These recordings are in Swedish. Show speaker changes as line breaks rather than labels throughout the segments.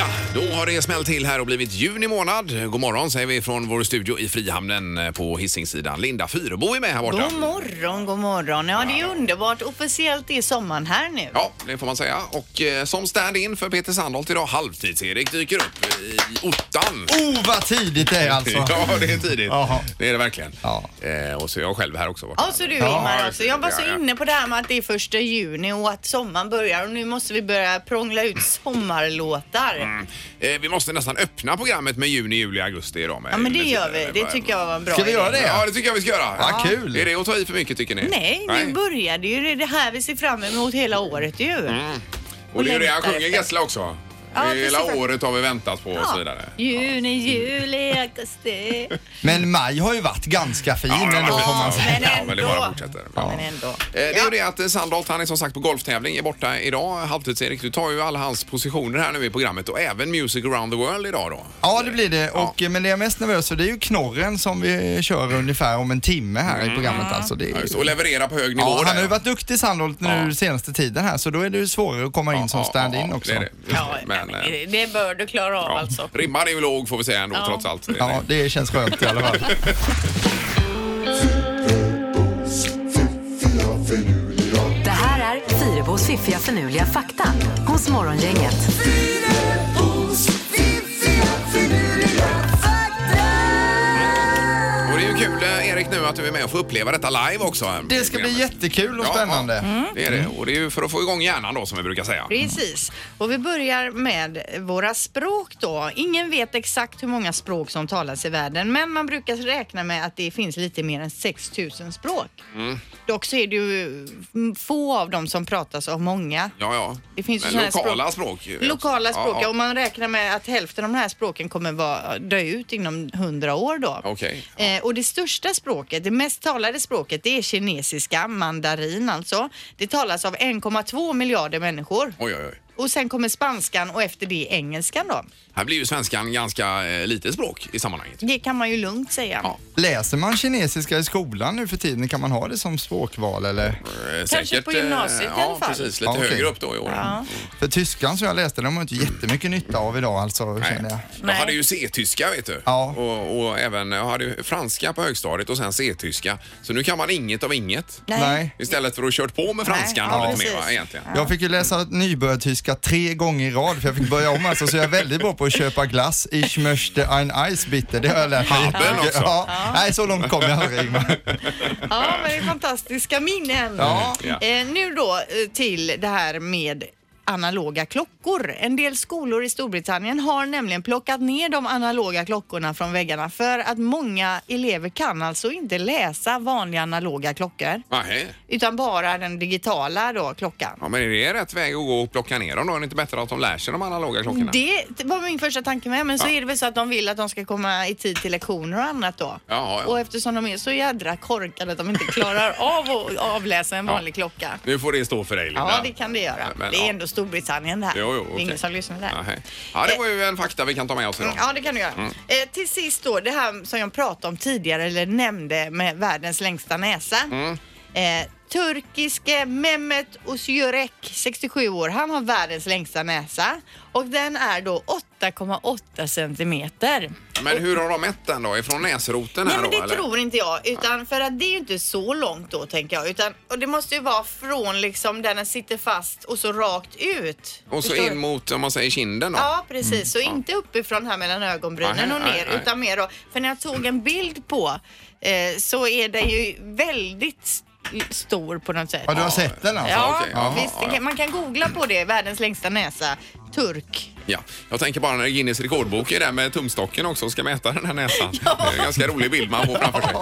har det smällt till här och blivit juni månad. God morgon säger vi från vår studio i Frihamnen eh, på Hisingssidan. Linda Fyrebo är med här borta.
God morgon, god morgon. Ja, det är underbart. Officiellt är sommaren här nu.
Ja, det får man säga. Och eh, som stand-in för Peter Sandholt idag, halvtids-Erik dyker upp i ottan.
Oh, vad tidigt det är alltså.
Ja, det är tidigt.
Jaha.
Det är det verkligen.
Ja.
Eh, och så är jag själv här också. borta.
Ja, så du
Ja,
Ingmar också. Jag var
ja, ja.
så inne på det här med att det är första juni och att sommaren börjar och nu måste vi börja prångla ut sommarlåtar.
Eh, vi måste nästan öppna programmet med juni, juli, augusti idag. Med
Ja, men det
med
gör
tiden.
vi. Det tycker jag var en bra
Ska vi
idé.
göra det?
Ja, det tycker jag vi ska göra.
Vad kul.
Är det att ta i för mycket tycker ni?
Nej, nu börjar det ju. Det är det här vi ser fram emot hela året ju.
Mm, Och det är ju det han
längtar
sjunger
efter.
Gessle också.
Ja,
Hela
precis.
året har vi väntat på och så
Ja.
vidare.
Juni, juli, augusti.
Men maj har ju varit ganska fin
det
ändå
var
får man
fint.
säga.
men
Ja, men det
ändå.
bara fortsätter.
Ja, men ändå.
Eh, Det är ju det att eh, Sandholt, han är som sagt på golftävling, är borta idag. Halvtids-Erik, du tar ju alla hans positioner här nu i programmet och även Music around the world idag då.
Ja det blir det. Och, eh, Men det jag är mest nervös för det är ju knorren som vi kör ungefär om en timme här i programmet. Alltså, det
Ja,
är...
just det. Och leverera på hög nivå
Ja,
där,
han har ju
ja.
varit duktig Sandholt nu senaste tiden här så då är det ju svårare att komma in som
Ja, ja,
stand-in
ja,
också.
det är det.
Ja,
men,
men,
eh,
det- det bör du klara av
ja.
alltså.
Ribban är ju låg får vi säga ändå
Ja.
trots allt.
Ja, det känns skönt i alla fall.
Det här är Fyrabos fiffiga förnuliga fakta hos Morgongänget.
Och det är ju kul eh, Erik nu att du är med och får uppleva detta live också. eh,
Det ska bli
programmet.
jättekul och
Ja,
spännande. Mm.
Ja, det är det. Och det är ju för att få igång hjärnan då som vi brukar säga.
Precis. Och vi börjar med våra språk då. Ingen vet exakt hur många språk som talas i världen men man brukar räkna med att det finns lite mer än 6 000 språk. Dock så är det ju mm, få av dem som pratas av många.
Ja, ja.
Det finns ju
Men
såna här
lokala språk.
språk.
ju också.
Lokala språk, ja,
Ja,
och
ja.
man räknar med att hälften av de här språken kommer vara, dö ut inom hundra år då.
Okej.
Eh, och det största språket, det mest talade språket, det är kinesiska, mandarin alltså. Det talas av 1,2 miljarder människor.
Oj, oj, oj.
Och sen kommer spanskan och efter det engelskan då.
Här blir ju svenskan ganska eh, lite språk i sammanhanget.
Det kan man ju lugnt säga.
Ja.
Läser man kinesiska i skolan nu för tiden, kan man ha det som språkval eller?
Eh,
Kanske på
eh,
gymnasiet i
ja,
alla fall.
precis. Lite
Ja, okej.
högre upp då i år. Mm.
Ja.
För tyskan som jag läste, de har inte jättemycket nytta av idag alltså, känner jag.
Nej. De
Nej.
hade ju C-tyska vet du.
Ja.
Och, och även jag hade ju franska på högstadiet och sen C-tyska. Så nu kan man inget av inget.
Nej.
Istället för att ha kört på med franskan
Nej, ja,
lite mer va,
precis.
egentligen.
Jag fick ju läsa nybörjartyska tre gånger i rad för jag fick börja om alltså, så jag är väldigt bra på att köpa glass. Ich möchte ein Eis bitte. Det har jag lärt mig
Haben också.
Ja. Nej, så långt kom jag aldrig. Ingmar.
Ja, men det är fantastiska minnen.
Ja.
Ja.
Eh, nu då eh, till det här med analoga klockor. En del skolor i Storbritannien har nämligen plockat ner de analoga klockorna från väggarna för att många elever kan alltså inte läsa vanliga analoga klockor
Nej.
utan bara den digitala då, klockan.
Ja, men är det rätt väg att gå och plocka ner dem då? Är det inte bättre att de lär sig de analoga klockorna?
Det var min första tanke med, men så är det väl så att de vill att de ska komma i tid till lektioner och annat då.
Ja, ja.
Och eftersom de är så jädra korkade att de inte klarar av att avläsa en vanlig klocka.
Nu får det stå för dig Linda.
Ja, det kan det göra.
Men,
det är
ja.
ändå Storbritannien det här.
Jo, jo,
Det är
okej.
ingen som lyssnar där.
Nej. Ja, det var ju en fakta vi kan ta med oss idag.
Ja, det kan du göra.
Mm.
Eh, till sist då, det här som jag pratade om tidigare eller nämnde med världens längsta näsa.
Mm.
Eh, turkiske Mehmet Özgürek, 67 år, han har världens längsta näsa och den är då 8,8 centimeter.
Men hur har de mätt den då? Ifrån näsroten
Nej
här
men
då
det
eller?
tror inte jag utan för att det är ju inte så långt då tänker jag utan och det måste ju vara från liksom där den sitter fast och så rakt ut.
Och så
Förstår
in
du?
mot, om man säger kinden då?
Ja, precis. så inte uppifrån här mellan ögonbrynen
Mm, Nej,
och
nej,
ner,
nej.
utan mer då. För när jag tog en bild på eh, så är den ju väldigt s- stor på något sätt.
Ja, du har sett den alltså?
Ja,
okej. Ja,
visst.
ja,
det
ja.
kan- Man kan googla på det, världens längsta näsa, turk.
Ja, jag tänker bara när Guinness rekordbok är där med tumstocken också och ska mäta den här näsan. Det är en ganska rolig bild man får framför sig.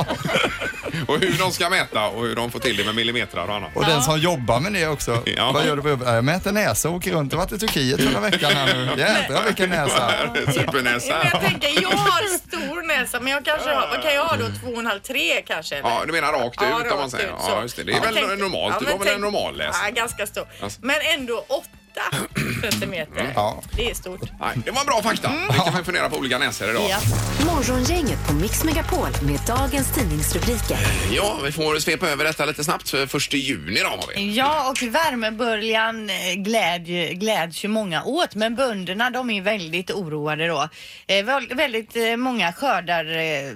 och hur de ska mäta och hur de får till det med millimetrar och annat.
Och den som jobbar med det också.
Ja.
Vad gör du på jobbet? Jag mäter näsa och åker runt. Jag har varit i Turkiet förra veckan här nu. Jädrar vilken näsa.
Supernäsa.
Men jag tänker, jag har stor näsa, men jag kanske har, vad kan jag ha då? Två och en halv, tre kanske? eller?
Ja, du menar rakt
Ja,
ut om man
rakt
säger.
ut, så.
Ja, just det. Det är
Jag
väl
tänkte-
normalt.
ja,
det var
men
väl en
tänk-
normal läsning.
Ja, ganska stor.
Alltså.
Men ändå centimeter.
Ja.
Det är stort.
Nej, det var bra fakta. Vi kan väl fundera på olika näsor idag.
Ja.
Morgongänget på Mix Megapol med dagens tidningsrubriker.
Ja, vi får svepa över detta lite snabbt. För första juni då har vi.
Ja, och värmeböljan eh, glädj, gläds ju många åt, men bönderna de är väldigt oroade då. Eh, väl- väldigt eh, många skördar eh,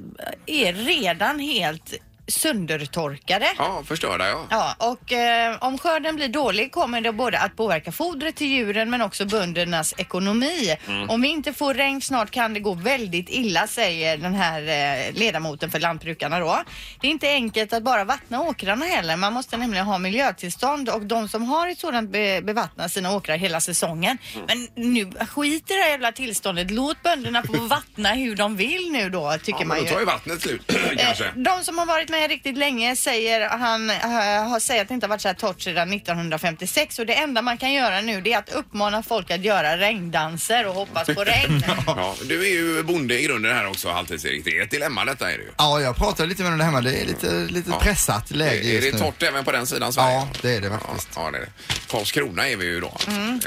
är redan helt söndertorkade.
Ja, förstörda ja.
Ja, och eh, om skörden blir dålig kommer det både att påverka fodret till djuren men också böndernas ekonomi.
Mm.
Om vi inte får regn snart kan det gå väldigt illa säger den här eh, ledamoten för Lantbrukarna då. Det är inte enkelt att bara vattna åkrarna heller. Man måste nämligen ha miljötillstånd och de som har ett sådant be- bevattnar sina åkrar hela säsongen.
Mm.
Men nu skit i det här jävla tillståndet. Låt bönderna få vattna hur de vill nu då tycker
ja
man
men då
ju.
tar ju vattnet slut
Eh,
kanske.
De som har varit med riktigt länge säger, han, eh, har säger att det inte har varit så här torrt sedan 1956 och det enda man kan göra nu det är att uppmana folk att göra regndanser och hoppas på regn.
Ja, du är ju bonde i grunden här också, Halvtids-Erik. Det är ett dilemma detta är det ju.
Ja, jag pratade lite med den hemma. Det är lite, lite
Ja.
pressat läge
Är, är
just
det
nu.
torrt även på den sidan Sverige?
Ja, det är det
Ja,
faktiskt. Mm.
ja, det är det. Karlskrona är vi ju då.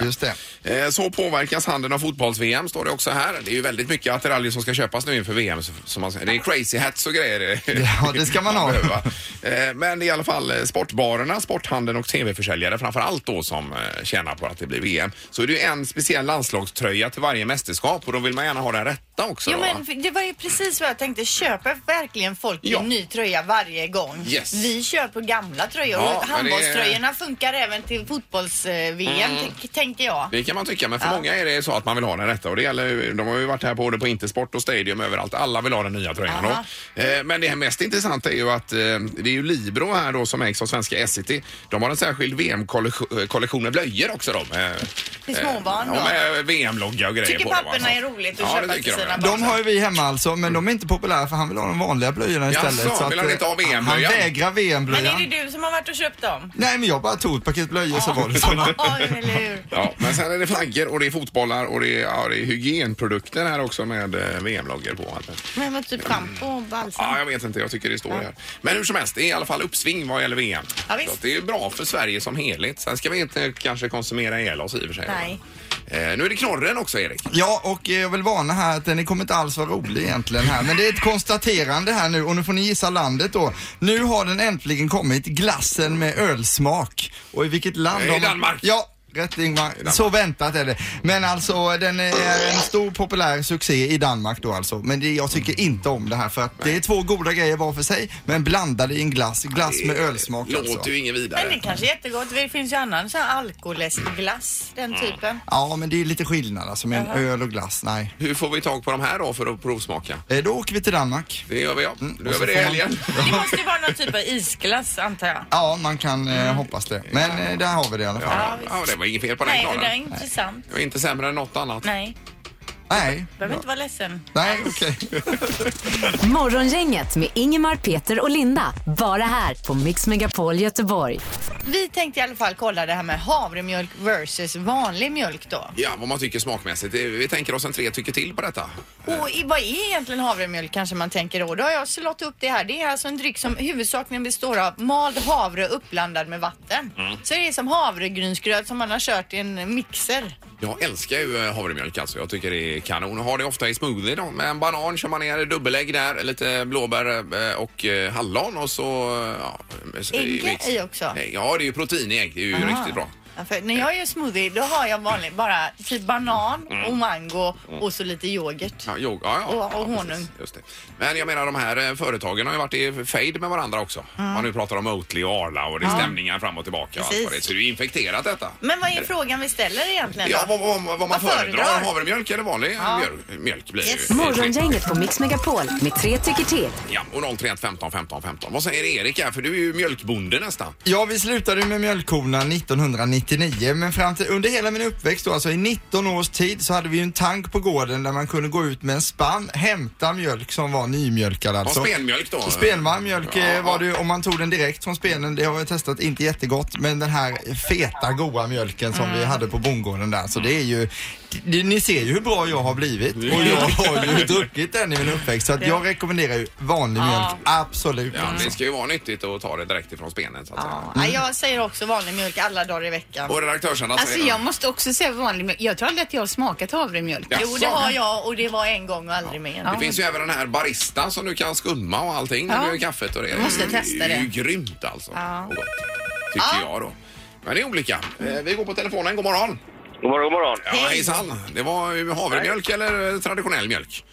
Just det.
Eh, Så påverkas handeln av fotbolls-VM står det också här. Det är ju väldigt mycket attiraljer som ska köpas nu inför VM. så- Som man, det är crazy hats och grejer.
Ja, det ska man ha.
behöver. Eh, Men i alla fall eh, sportbarerna, sporthandeln och tv-försäljare framför allt då som eh, tjänar på att det blir VM. Så är det ju en speciell landslagströja till varje mästerskap och då vill man gärna ha den rätta också.
Jo,
då, va?
men det var ju precis vad jag tänkte. Köper verkligen folk
Ja.
en ny tröja varje gång?
Yes.
Vi kör på gamla tröjor.
Ja,
och
men det är-
handbollströjorna funkar även till
Mm.
fotbolls-VM, tänker jag.
Det kan man tycka, men för
Ja.
många är det så att man vill ha den rätta. Och det gäller, ju- de har ju varit här både på Intersport och Stadium överallt. Alla vill ha den nya tröjan.
Aha.
Då. Eh, Men det här mest intressanta är ju att eh, det är ju Libro här då som ägs av svenska Essity. De har en särskild VM-kollektion med blöjor också. De. eh,
Till småbarn
eh,
då?
Ja, med VM-logga och grejer
Tycker
på dem,
papporna
alltså.
är roligt att
ja, det
köpa
tycker
till
de,
sina
ja.
barn?
De har ju vi hemma alltså, men de är inte populära för han vill ha de vanliga blöjorna
Jaså,
istället. så
vill han
att, eh,
inte ha VM-blöjan?
Han vägrar
Men är
VM-blöjan.
det du som har varit och köpt dem?
Nej, men jag bara tog ett paket blöjor så var det såna.
Ja, eller hur?
Ja, men sen är det flaggor och det är fotbollar och det är, ja, det är hygienprodukter här också med eh, VM-loggor på. Allt.
Men vad typ schampo och balsam?
Ja, jag vet inte. Jag tycker det står här. Men hur som helst, det är i alla fall uppsving vad gäller VM.
Ja, visst.
Så att det är bra för Sverige som helhet. Sen ska vi inte kanske konsumera ihjäl oss i och för sig.
Nej.
Eh, nu är det knorren också, Erik.
Ja, och eh, jag vill varna här att den kommer inte alls vara rolig egentligen här. Men det är ett konstaterande här nu och nu får ni gissa landet då. Nu har den äntligen kommit, glassen med ölsmak. Och i vilket land?
Eh,
har
i
man-
Danmark.
Ja. Rätt Ingmar, så väntat är det. Men alltså den är en stor populär succé i Danmark då alltså. Men det, jag tycker inte om det här för att det är två goda grejer var för sig men blandade i en glass, glass med ölsmak
Låter
alltså.
ju inget vidare.
Men det kanske är jättegott. Det finns ju annan sån här alkoläskglass, den typen.
Ja men det är lite skillnad alltså med en öl och glass, nej.
Hur får vi tag på de här då för att provsmaka?
Eh, Då åker vi till Danmark.
Det gör vi, ja. Då
Mm, och
gör
så
vi det i
får man-
helgen.
Det måste ju vara någon typ av isglass antar jag.
Ja, man kan eh, hoppas det. Men eh, där har vi det i alla fall.
Ja, ja, det var inget fel på den
Nej, men det är
knorren.
intressant.
Det var inte sämre än något annat.
Nej,
Nej,
behöver inte vara ledsen.
nej okej.
Morgongänget med Ingemar, Peter och Linda. Bara här på Mix Megapol Göteborg.
Vi tänkte i alla fall kolla det här med havremjölk versus vanlig mjölk då.
Ja, vad man tycker smakmässigt. Det- Vi tänker oss en tre tycker till på detta.
Och i- vad är egentligen havremjölk kanske man tänker då? Då har jag slått upp det här. Det är alltså en dryck som huvudsakligen består av mald havre uppblandad med vatten. Så det är som havregrynsgröt som man har kört i en mixer.
Jag älskar ju eh, havremjölk alltså. Jag tycker det är kanon. Har det ofta i smoothie då. Med en banan kör man ner dubbelägg där, lite blåbär eh, och eh, hallon och så... eh, Ja, s-
Ägg
mix.
i också?
Ägg. Ja, det är ju protein i ägg. Det är ju
Aha.
riktigt bra.
Ah. Ja, för när jag gör smoothie då har jag vanligt bara typ banan och mango och så lite yoghurt.
Mm. Ja, jo, ja, ja,
Och-
ja,
och
precis.
honung.
Just det. Men jag menar de här eh, företagen har ju varit i fejd med varandra också. Man nu pratar om Oatly och Arla och det är stämningar fram och tillbaka. Och allt
Precis.
vad det. är. Så det är ju infekterat detta.
Men vad är frågan vi ställer egentligen
Ja,
då?
vad, vad, vad man
Vad
föredrar.
föredrar?
Havremjölk eller vanlig mjölk, mjölk blir det
Yes.
ju.
Morgongänget på Mix Megapol med tre tycker till.
Ja, och 031 15 15 15. Vad säger Erik här? För du är ju mjölkbonde nästan.
Ja, vi slutade ju med mjölkkorna 1999, men fram till, under hela min uppväxt då, alltså i 19 års tid så hade vi ju en tank på gården där man kunde gå ut med en spann, hämta mjölk som var nymjölkad
Ja,
alltså.
spenmjölk då.
Spenvarm mjölk
Ja,
eh, var det
ja.
ju, om man tog den direkt från spenen, det har jag testat, inte jättegott, men den här feta goa mjölken som
Mm.
vi hade på bondgården där, så det är ju, det, ni ser ju hur bra jag har blivit och jag har ju druckit den i min uppväxt, så att jag rekommenderar ju vanlig mjölk, absolut.
Ja,
alltså.
det ska ju vara nyttigt att ta det direkt ifrån spenen så att säga.
Ja, jag säger också vanlig mjölk alla dagar i veckan.
Och redaktörsarna
Alltså
säger-
jag måste också säga vanlig mjölk. Jag tror aldrig att jag har smakat havremjölk.
Ja.
Jo, det har jag och det var en gång och aldrig mer.
Det finns ju även den här barista som du kan skumma och allting när
Ja.
du gör kaffet och det.
Jag måste testa
Det är ju
det.
grymt alltså. Och gott, Tycker jag då. Men det är olika. Eh, Vi går på telefonen. God morgon!
God morgon, god morgon.
Ja, hejsan! Det var ju havremjölk eller eh, traditionell mjölk?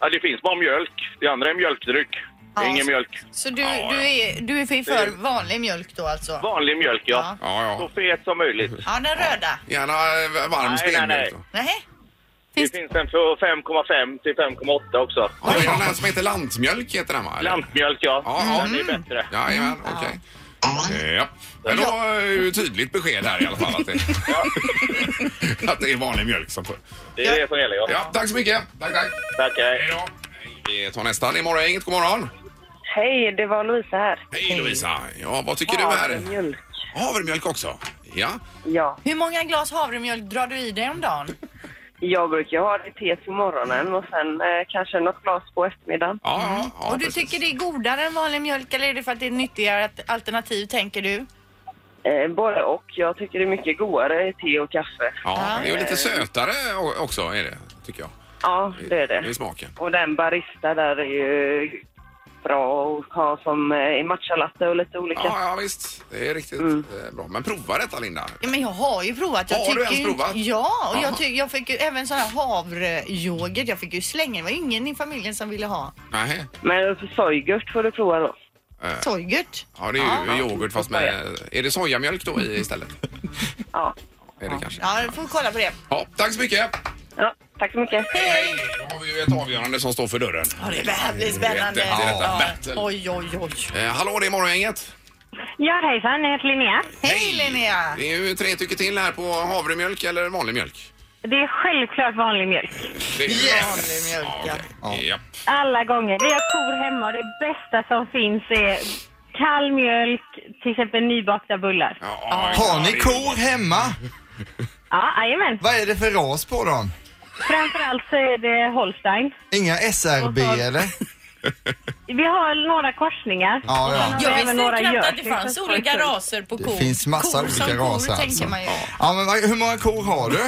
Ja, det finns bara mjölk. Det andra är mjölkdryck. Det är
Ja.
ingen mjölk.
Så du,
Ja,
du, är, du är för- för
Det-
vanlig mjölk då alltså?
Vanlig mjölk, ja.
Ja,
Så
ja.
fet som möjligt.
Ja, den röda.
Gärna eh, varm
Nej, nej,
spelmjölk.
nej.
Nej.
Finns-
Det finns en för 5,5 till 5,8 också.
Ja, det är den här som heter lantmjölk heter den va? eller?
Lantmjölk, ja.
Ja, Mm. ja.
Den är bättre.
Jajamän, okej. Eh, Ja. Men då är ju tydligt besked här i alla fall att det, att det är vanlig mjölk som får.
Det är det som gäller, ja.
Ja, tack så mycket. Tack, tack.
Tack, hej.
Hej då. Vi tar nästa. Det är morgon, inget god morgon.
Hej, det var Lovisa här.
Hej Lovisa. Ja, vad tycker du här?
Havremjölk.
Havremjölk också? Ja.
Ja,
Hur många glas havremjölk drar du i dig om dagen?
jag brukar ha det te på morgonen och sen eh, kanske något glas på eftermiddagen.
Ja, ja, ja
och du
precis.
tycker det är godare än vanlig mjölk eller är det för att det är ett nyttigare att- alternativ tänker du?
Eh, både och. Jag tycker det är mycket godare i te och kaffe.
Ja, det är ju lite sötare o- också är det, tycker jag.
Ja, det är
I
det.
smaken.
Och den barista där är ju bra att ha som eh, i matchalatte och lite olika.
Ja, ja visst. Det är riktigt eh, bra. Men prova detta Linda.
Ja, men jag har ju provat. Jag
Har du
tycker
ens
ju inte-
provat?
Ja, och
Aha.
jag, ty- jag fick ju även sån här havrejoghurt. Jag fick ju slänga. Det var ingen i familjen som ville ha.
Nej.
Men sojgurt får du prova då.
Sojgurt.
Ja, det är ju yoghurt fast med... Är det sojamjölk då i istället?
Ja.
Är det kanske?
Ja, vi får kolla på det.
Ja, tack så mycket.
ja tack så mycket.
Hej! Då har vi ju ett avgörande som står för dörren.
Ja, det här blir
spännande.
spännande.
Det är detta. Battle.
Oj, oj, oj.
Eh, hallå, det är Morgongänget.
Ja, hejsan, jag heter Linnea.
Hej Linnea!
Det är ju tre tycker till här på havremjölk eller vanlig mjölk.
Det är självklart vanlig mjölk.
Det är
Vanlig mjölk, ja.
Ja.
Ja.
Japp.
Alla gånger. Vi har kor hemma och det bästa som finns är kall mjölk, till exempel nybakta bullar.
Ja, ja, ja,
Har ni
det är-
kor hemma?
Ja, jajamän.
Vad är det för ras på dem?
Framförallt så är det Holstein.
Inga SRB eller?
Vi har några korsningar.
Ja,
Jag
ja.
Jag visste
visste
ju några
knappt
gör
att det
till
fanns
för
olika
skojs skull.
raser på
Det
kor.
finns massa
kor som
olika
kor,
raser,
tänker
alltså.
man ju.
ja men vad- hur många kor har du?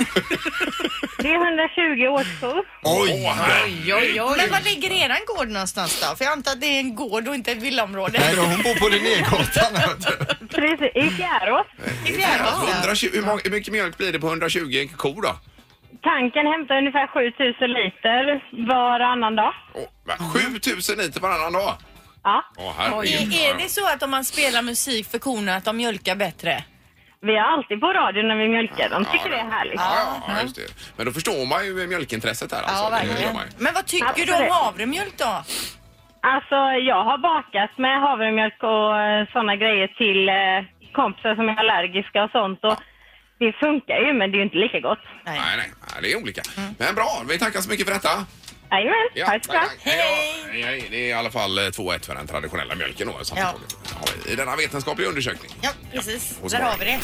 Det är 120 årskor.
Oj!
Åh, herregud.
Oj, oj,
Men
oj.
var ligger eran gård någonstans då? För jag antar att det är en gård och inte ett
Nej,
villaområde.
då, hon bor på Linnégatan. hör du.
Precis, I Fjärås.
I Fjärås.
120, hur mång- hur mycket mjölk blir det på 120 kor då?
Tanken hämtar ungefär 7000 liter varannan dag.
Åh, va? 7000 liter varannan dag?
Ja,
Åh, herregud.
Är, är det så att om man spelar musik för korna att de mjölkar bättre?
vi har alltid på radion när vi mjölkar. De tycker det är härligt.
Ja, ja, just det. Men då förstår man ju mjölkintresset här alltså.
Ja,
Det gör
verkligen.
man ju.
Men vad tycker du om
Absolut.
havremjölk då?
Alltså, jag har bakat med havremjölk och eh, såna grejer till eh, kompisar som är allergiska och sånt. Och det funkar ju, men det är ju inte lika gott.
Nej, nej, nej, det är olika. Men bra, vi tackar så mycket för detta.
Jajamän,
Ja,
ha det så bra.
Hej! då. Hej, hej. Det är i alla fall eh, 2-1 för den traditionella mjölken då, sammantaget. Ja, I denna vetenskapliga undersökning.
Ja, precis.
Och så
Där
bara-
har vi det.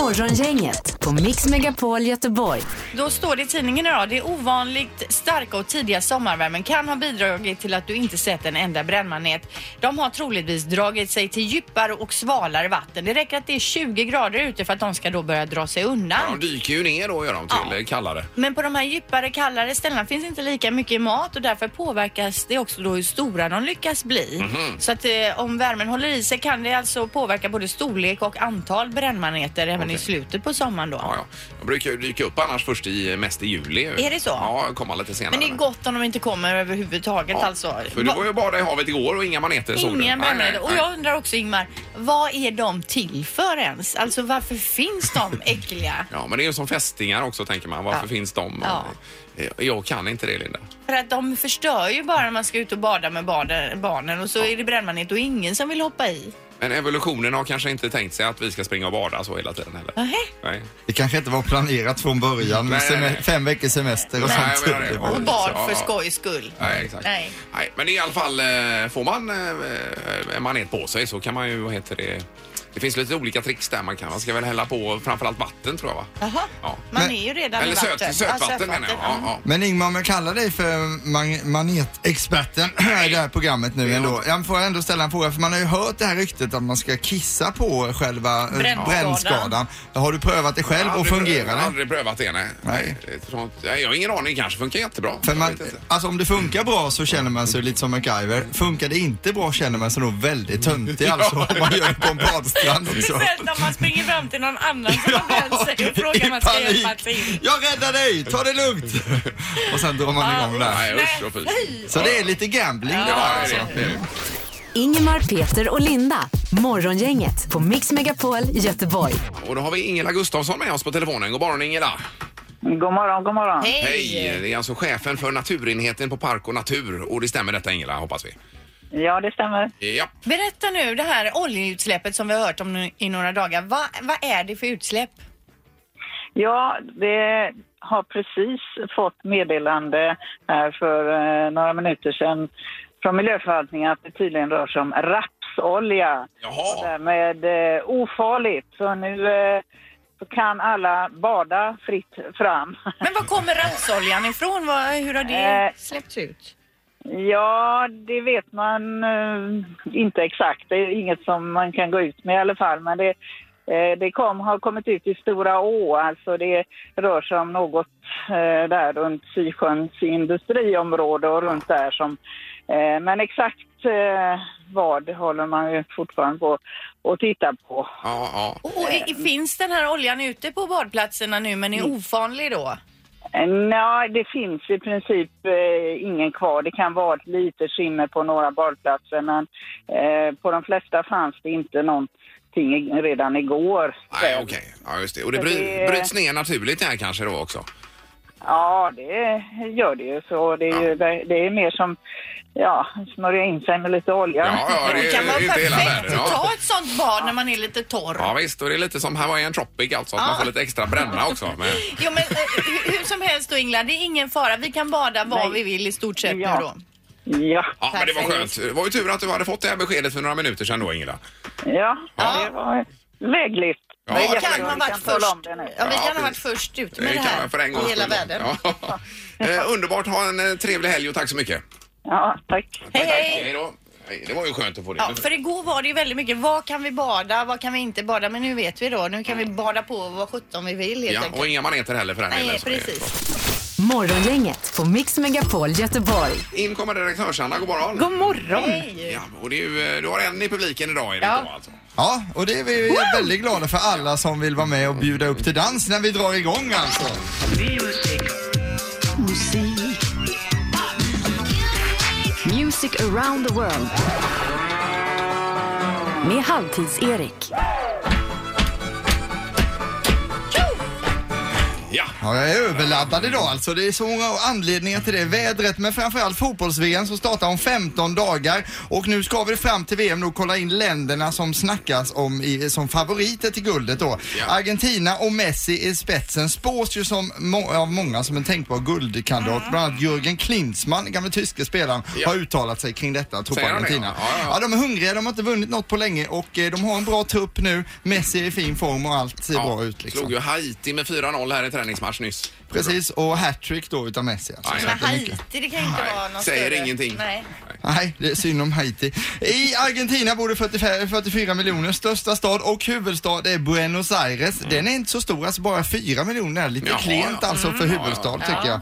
Morgongänget på Mix Megapol Göteborg.
Då står det i tidningen idag, det är ovanligt starka och tidiga sommarvärmen kan ha bidragit till att du inte sett en enda brännmanet. De har troligtvis dragit sig till djupare och svalare vatten. Det räcker att det är 20 grader ute för att de ska då börja dra sig
Ja,
undan.
de dyker ju ner då, gör de, till
Ja.
eh, kallare.
Men på de här djupare, kallare ställena finns inte lika mycket mat och därför påverkas det också då hur stora de lyckas bli.
Mhm.
Så att eh, om värmen håller i sig kan det alltså påverka både storlek och antal brännmaneter även i slutet på sommaren då.
Ja, ja. De brukar ju dyka upp annars först i, eh, mest i juli. ju.
Är det så?
Ja, komma lite senare.
Men det är gott om de inte kommer överhuvudtaget
Ja,
alltså.
För du
Va-
var ju och badade i havet igår och inga maneter såg du. Nej,
Inga
nej,
brännmaneter. Och
nej.
jag undrar också Ingmar, vad är de till för ens? Alltså varför finns de äckliga?
Ja, men det är ju som fästingar också tänker man. Varför
Ja.
finns de?
Ja.
Eh, Jag kan inte det Linda.
För att de förstör ju bara när man ska ut och bada med barnen, barnen och så är det brännmanet och ingen som vill hoppa i.
Men evolutionen har kanske inte tänkt sig att vi ska springa och bada så hela tiden heller.
Nähä.
Nej.
Det kanske inte var planerat från början med
Nej, nej, nej.
sem- fem veckors semester och
Nej,
sånt.
jag menar det.
Det var-
Och
Ja,
bad för
ja.
skojs skull.
Nej, exakt.
Nej.
Nej, men i alla fall, eh, får man eh, en manet på sig så kan man ju, vad heter det, det finns lite olika tricks där man kan. Man ska väl hälla på framförallt vatten tror jag va?
Jaha,
Ja.
man
Men-
är ju redan
Eller
i
söt,
vatten.
sötvatten, menar jag. Ja,
mm.
ja.
Men Ingmar, om jag kallar dig för man- manetexperten i det här programmet nu ändå. Jag får ändå ställa en fråga, för man har ju hört det här ryktet receptet att man ska kissa på själva eh,
Brännskadan.
brännskadan. Har du prövat det själv och fungerar
Jag
det?
har aldrig prövat det, nej.
Nej.
Ett sånt- nej, Jag har ingen aning, kanske funkar jättebra.
För
Jag
man,
vet inte.
alltså om det funkar bra så känner man sig lite som MacGyver. Funkar det inte bra känner man sig nog väldigt töntig alltså om man gör det på en badstrand också.
Speciellt om man springer fram till någon annan som har bränt sig och frågar om man ska hjälpa till.
Jag räddar dig, ta det lugnt! Och sen drar man igång
Nej,
där.
usch och fy.
Så det är lite gambling det
Ja,
där
det
alltså.
är det.
Ingemar, Peter och Linda. Morgongänget på Mix Megapol Göteborg.
Och då har vi Ingela Gustafsson med oss på telefonen. God morgon Ingela!
God morgon, god morgon.
Hej! Det är alltså chefen för naturenheten på Park och Natur. Och det stämmer detta Ingela, hoppas vi.
Ja, det stämmer.
Ja.
Berätta nu det här oljeutsläppet som vi har hört om nu i några dagar. Vad, vad är det för utsläpp?
Ja, det har precis fått meddelande här för eh, några minuter sedan från miljöförvaltningen att det tydligen rör sig om rapsolja. Och
Jaha!
därmed eh, ofarligt. Så nu eh, så kan alla bada fritt fram.
Men var kommer rapsoljan ifrån? Vad, hur har det
Eh.
släppts ut?
ja, det vet man eh, inte exakt. Det är inget som man kan gå ut med i alla fall. Men det, eh, det kom, har kommit ut i Stora Å. Alltså det rör sig om något eh, där runt Sysjöns industriområde och runt där som... Eh, men exakt eh, vad håller man ju fortfarande på att titta på.
Ja, ja.
Och, och i, finns den här oljan ute på badplatserna nu men är
Mm.
ofarlig då?
Eh, Nej, det finns i princip eh, ingen kvar. Det kan vara ett litet skimmer på några badplatser men eh, på de flesta fanns det inte någonting i- redan igår.
Nej, okej. Ja, just det. Och det bry,
Det-
bryts ner naturligt det här kanske då också.
Ja, det gör det ju. Så det, är ju det, det är mer som ja, smörja in sig med lite olja.
Ja, ja, det,
Det kan vara
är inte hela
perfekt
världen.
att
Ja.
ta ett sånt bad när man är lite torr.
ja, visst. Och det är lite som Hawaiian Tropic alltså, att man
Ja.
får lite extra bränna också. Men,
Jo men eh, hur, hur som helst då Ingela, det är ingen fara. Vi kan bada var
Nej.
vi vill i stort sett
Ja.
nu då.
Ja,
ja, men det var
Perfekt.
skönt. Det var ju tur att du hade fått det här beskedet för några minuter sedan då, Ingela.
ja, det var lägligt.
Ja,
Det är
det
Kan
jättebra.
ha
Vi
varit
tala om
först.
det nu.
Ja, vi
Ja,
kan ha varit
precis.
först ut
Det
med det
kan
här
man för en gångs
i hela
skull.
världen.
Ja. Eh, Underbart. Ha en eh, trevlig helg och tack så mycket.
Ja, tack.
Hej, hej.
Hej då. Hej, Det var ju skönt att få det.
Ja, för igår var det ju väldigt mycket, vad kan vi bada, vad kan vi inte bada? Men nu vet vi då, nu kan vi bada på vad sjutton vi vill helt
Mm. Ja,
enkelt.
och inga maneter heller för den
Nej,
delen, så det är bra.
precis.
Morgongänget på Mix Megapol Göteborg.
In kommer redaktörs-Anna, god morgon.
God morgon!
Ja, och det är ju, eh, du har en i publiken idag, är det
Ja.
inte, va, alltså?
Ja, och det är vi vi är väldigt glada för alla som vill vara med och bjuda upp till dans när vi drar igång alltså.
Music around the world. Med Halvtids-Erik.
Ja.
Ja, jag är överladdad idag alltså. Det är så många anledningar till det. Vädret, men framförallt fotbolls-VM som startar om 15 dagar. Och nu ska vi fram till VM och kolla in länderna som snackas om i, som favoriter till guldet då.
Ja.
Argentina och Messi i spetsen spås ju som må- av många som en tänkbar guldkandidat. Bland annat Jürgen Klinsmann, den gamle tyske spelaren,
Ja.
har uttalat sig kring detta, tror på
Säger han det?
Argentina.
Ja, ja, ja.
Ja, de är hungriga, de har inte vunnit något på länge och eh, de har en bra trupp nu. Messi är i fin form och allt ser bra ut liksom.
Slog ju Haiti med 4-0 här i träningsmatch nyss.
Precis, och hattrick då utav Messi. Alltså.
Ja, ja.
Så
Men
att det är mycket.
Haiti, det kan ju inte
Nej,
vara något
säger
större.
ingenting.
Nej.
Nej, det är synd om Haiti. I Argentina bor det 45, 44 miljoner. Största stad och huvudstad är Buenos Aires. Den är inte så stor, alltså bara 4 miljoner. är Lite
Mm. Jaha,
klent
ja.
alltså för huvudstad tycker jag.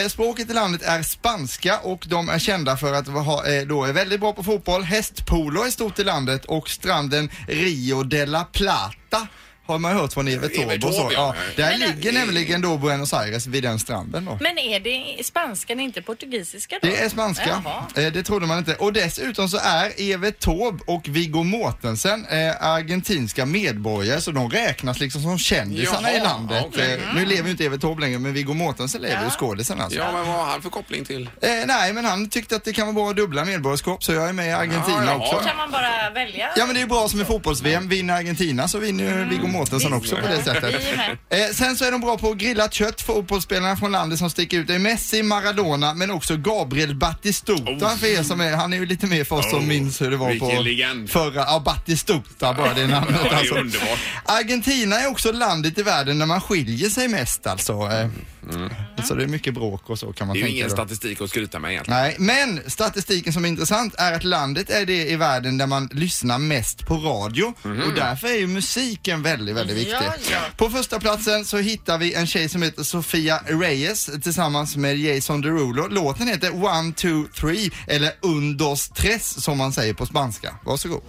Eh, Språket i landet är spanska och de är kända för att ha, eh, då är väldigt bra på fotboll. Hästpolo är stort i landet och stranden Rio de la Plata. Har man hört från Evert
Evert
Taube och så?
Taube, ja.
Ja, där
Men, eh,
ligger nämligen då Buenos Aires vid den stranden då.
Men är det spanskan, inte portugisiska då?
Det är spanska.
Jaha.
Eh, Det trodde man inte. Och dessutom så är Evert Taube och Viggo Mortensen eh, argentinska medborgare så de räknas liksom som kändisarna
Jaha,
i landet.
okej.
Eh, Nu lever ju inte Evert Taube längre men Viggo Mortensen lever ju skådisen alltså.
Ja, men vad har han för koppling till?
Eh, nej men han tyckte att det kan vara bra att dubbla medborgarskap så jag är med i Argentina
Ja, ja.
också.
Kan man bara välja?
Mm.
Ja men det är ju bra som i fotbolls-VM. Vinner Argentina så vinner ju Viggo Mårtensson också på det sättet. Eh, sen så är de bra på att grilla kött, fotbollsspelarna från landet som sticker ut. Det är Messi, Maradona men också Gabriel Batistuta
Oh.
för er som är, han är ju lite mer för oss
Oh,
som minns hur det var
vilken
på
legend.
förra, ja Batistuta bara det namnet
Ja, det är
alltså.
underbart.
Argentina är också landet i världen där man skiljer sig mest alltså. Eh, Så det är mycket bråk och så kan man
Mm. Det är ju
tänka
ingen
då.
statistik att skryta med egentligen.
Nej, men statistiken som är intressant är att landet är det i världen där man lyssnar mest på radio och därför är ju musiken väldigt, väldigt viktig.
Mhm. Ja, ja.
På första platsen så hittar vi en tjej som heter Sofia Reyes tillsammans med Jason Derulo. Låten heter One, Two, Three eller Un, Dos, Tres som man säger på spanska. Varsågod.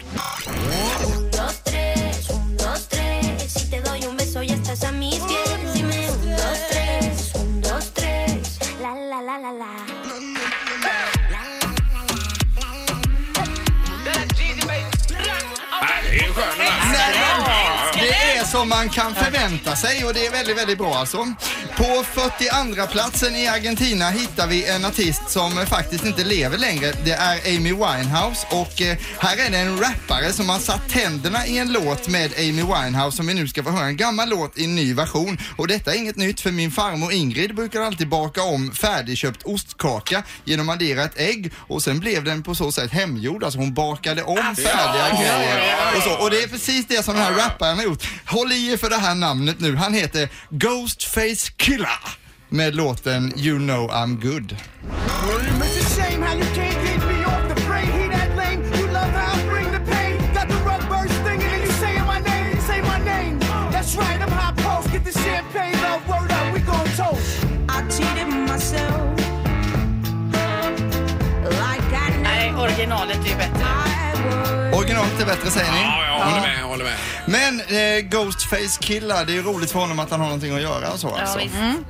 Nej, det är ju skön den här.
Det är som man kan förvänta sig och det är väldigt, väldigt bra alltså. På 42 platsen i Argentina hittar vi en artist som eh, faktiskt inte lever längre. Det är Amy Winehouse och eh, här är det en rappare som har satt tänderna i en låt med Amy Winehouse som vi nu ska få höra en gammal låt i en ny version. Och detta är inget nytt för min farmor Ingrid brukar alltid baka om färdigköpt ostkaka genom att addera ett ägg och sen blev den på så sätt hemgjord. Alltså hon bakade om färdiga grejer och så. Och det är precis det som den här rapparen har gjort. Håll i er för det här namnet nu. Han heter Ghostface Killa med låten You know I'm good.
Nej, originalet är ju bättre.
Originalet är bättre säger ni?
Ja, jag håller med, jag håller med.
Men eh, Ghostface Killa, det är ju roligt för honom att han har någonting att göra och så alltså.
Mm.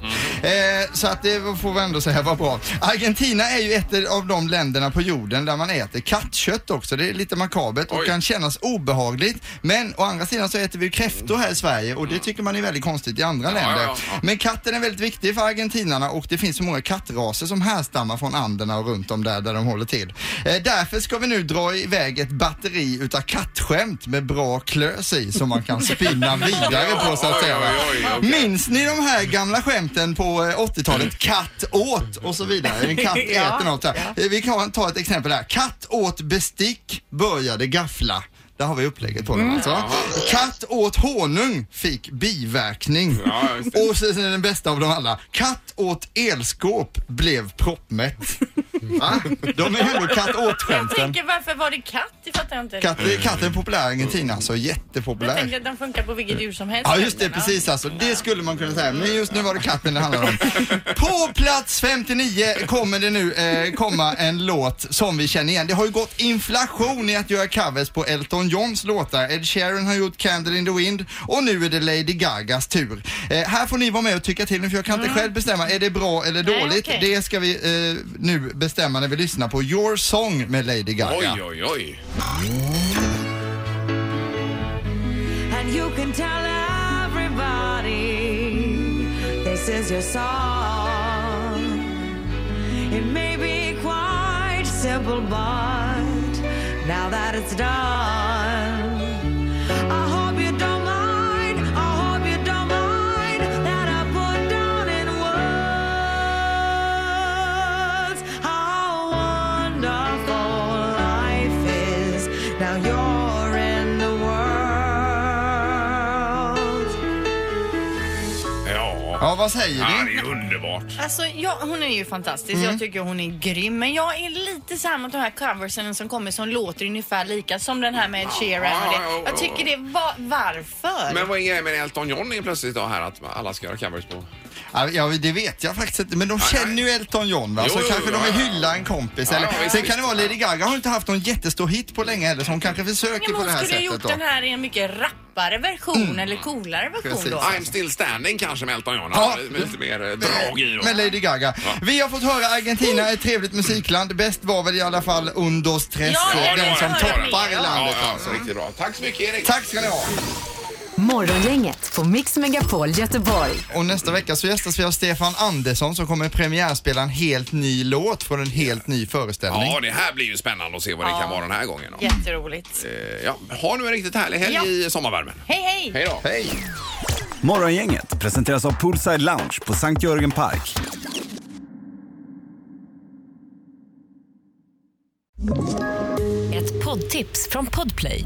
Eh, så att det får vi ändå säga var bra. Argentina är ju ett av de länderna på jorden där man äter kattkött också. Det är lite makabert och
Oj.
kan kännas obehagligt. Men å andra sidan så äter vi ju kräftor här i Sverige och det tycker man är väldigt konstigt i andra länder.
Mm. ja, ja.
Men katten är väldigt viktig för argentinarna och det finns så många kattraser som härstammar från Anderna och runt om där, där de håller till. Eh, därför ska vi nu dra iväg ett batteri utav kattskämt med bra klös i som man kan spinna vidare på så att säga. va?
Oj, oj, oj, okej.
Minns ni de här gamla skämten på eh, 80-talet? Katt åt och så vidare. En katt äter något här. Eh, Vi kan ta ett exempel här. Katt åt bestick, började gaffla. Där har vi upplägget på den alltså. Katt åt honung, fick biverkning.
Ja, just det.
Och sen den bästa av dem alla. Katt åt elskåp, blev proppmätt. Va? De är ju ändå katt
Jag
åt-skämten.
tänker, varför var det katt? Det fattar jag inte.
Katt, katt är populär i Argentina, alltså
Jag
jättepopulär.
tänker att den funkar på vilket djur som helst.
Mm. Ja just det,
egentligen,
precis alltså. Det skulle man kunna säga. Men just nu var det katten det handlade om. På plats 59 kommer det nu eh, komma en låt som vi känner igen. Det har ju gått inflation i att göra covers på Elton Johns låtar. Ed Sheeran har gjort Candle in the Wind och nu är det Lady Gagas tur. Eh, här får ni vara med och tycka till nu för jag kan inte själv bestämma. Är det bra eller
Mm. Nej,
dåligt?
okej.
Det ska vi eh, nu bestämma när vi lyssnar på Your Song med Lady Gaga.
Oj, oj, oj.
And you can tell everybody this is your song. It may be quite simple, but now that it's done, I hope you don't mind. I hope you don't mind that I put down in words how wonderful life is. Now you're in the world.
Ja.
Ja, vad säger ni?
Ja, det är underbart.
Alltså, ja, hon är ju fantastisk.
Mm.
Jag tycker hon är grym. Men jag är lite så här mot de här coversen som kommer som låter ungefär lika som den här med Ed Sheeran. Och
ja, ja,
det.
ja.
Jag tycker det var... Varför?
Men vad är grejen med Elton John är plötsligt då här att alla ska göra covers på?
Ja, Ja, det vet jag faktiskt inte. Men de känner ju Elton John va?
Jo,
så
jo,
kanske
jo,
de vill
ja, ja.
hylla en kompis.
Ja,
eller.
ja, visst,
Sen kan det
visst.
vara Lady Gaga har inte haft någon jättestor hit på länge heller så hon kanske försöker
Ja, men
på det
hon
här
skulle ha gjort
sättet då. Mm.
den här i en mycket rappare version eller coolare version
Precis.
då.
I'm still standing kanske med Elton John.
Ja.
Ja. Med lite mer eh, drag i då.
Med Lady Gaga.
Ja.
Vi har fått höra Argentina är ett trevligt musikland. Bäst var väl i alla fall Undos Tres,
Ja,
Ja, det
den
var
som
det.
toppar i
Ja,
landet. alltså.
ja, så riktigt bra. Tack så mycket Erik.
Tack ska ni ha.
Morgongänget på Mix Megapol Göteborg.
Och nästa vecka så gästas vi av Stefan Andersson som kommer premiärspela en helt ny låt från en helt ny föreställning.
Ja, det här blir ju spännande att se vad det kan vara den här gången. Då.
Jätteroligt.
Eh, Ja, ha nu en riktigt härlig helg
Ja.
i sommarvärmen.
Hej, hej!
Hej då!
Hej!
Morgongänget presenteras av Poolside Lounge på Sankt Jörgen Park.
Ett poddtips från Podplay.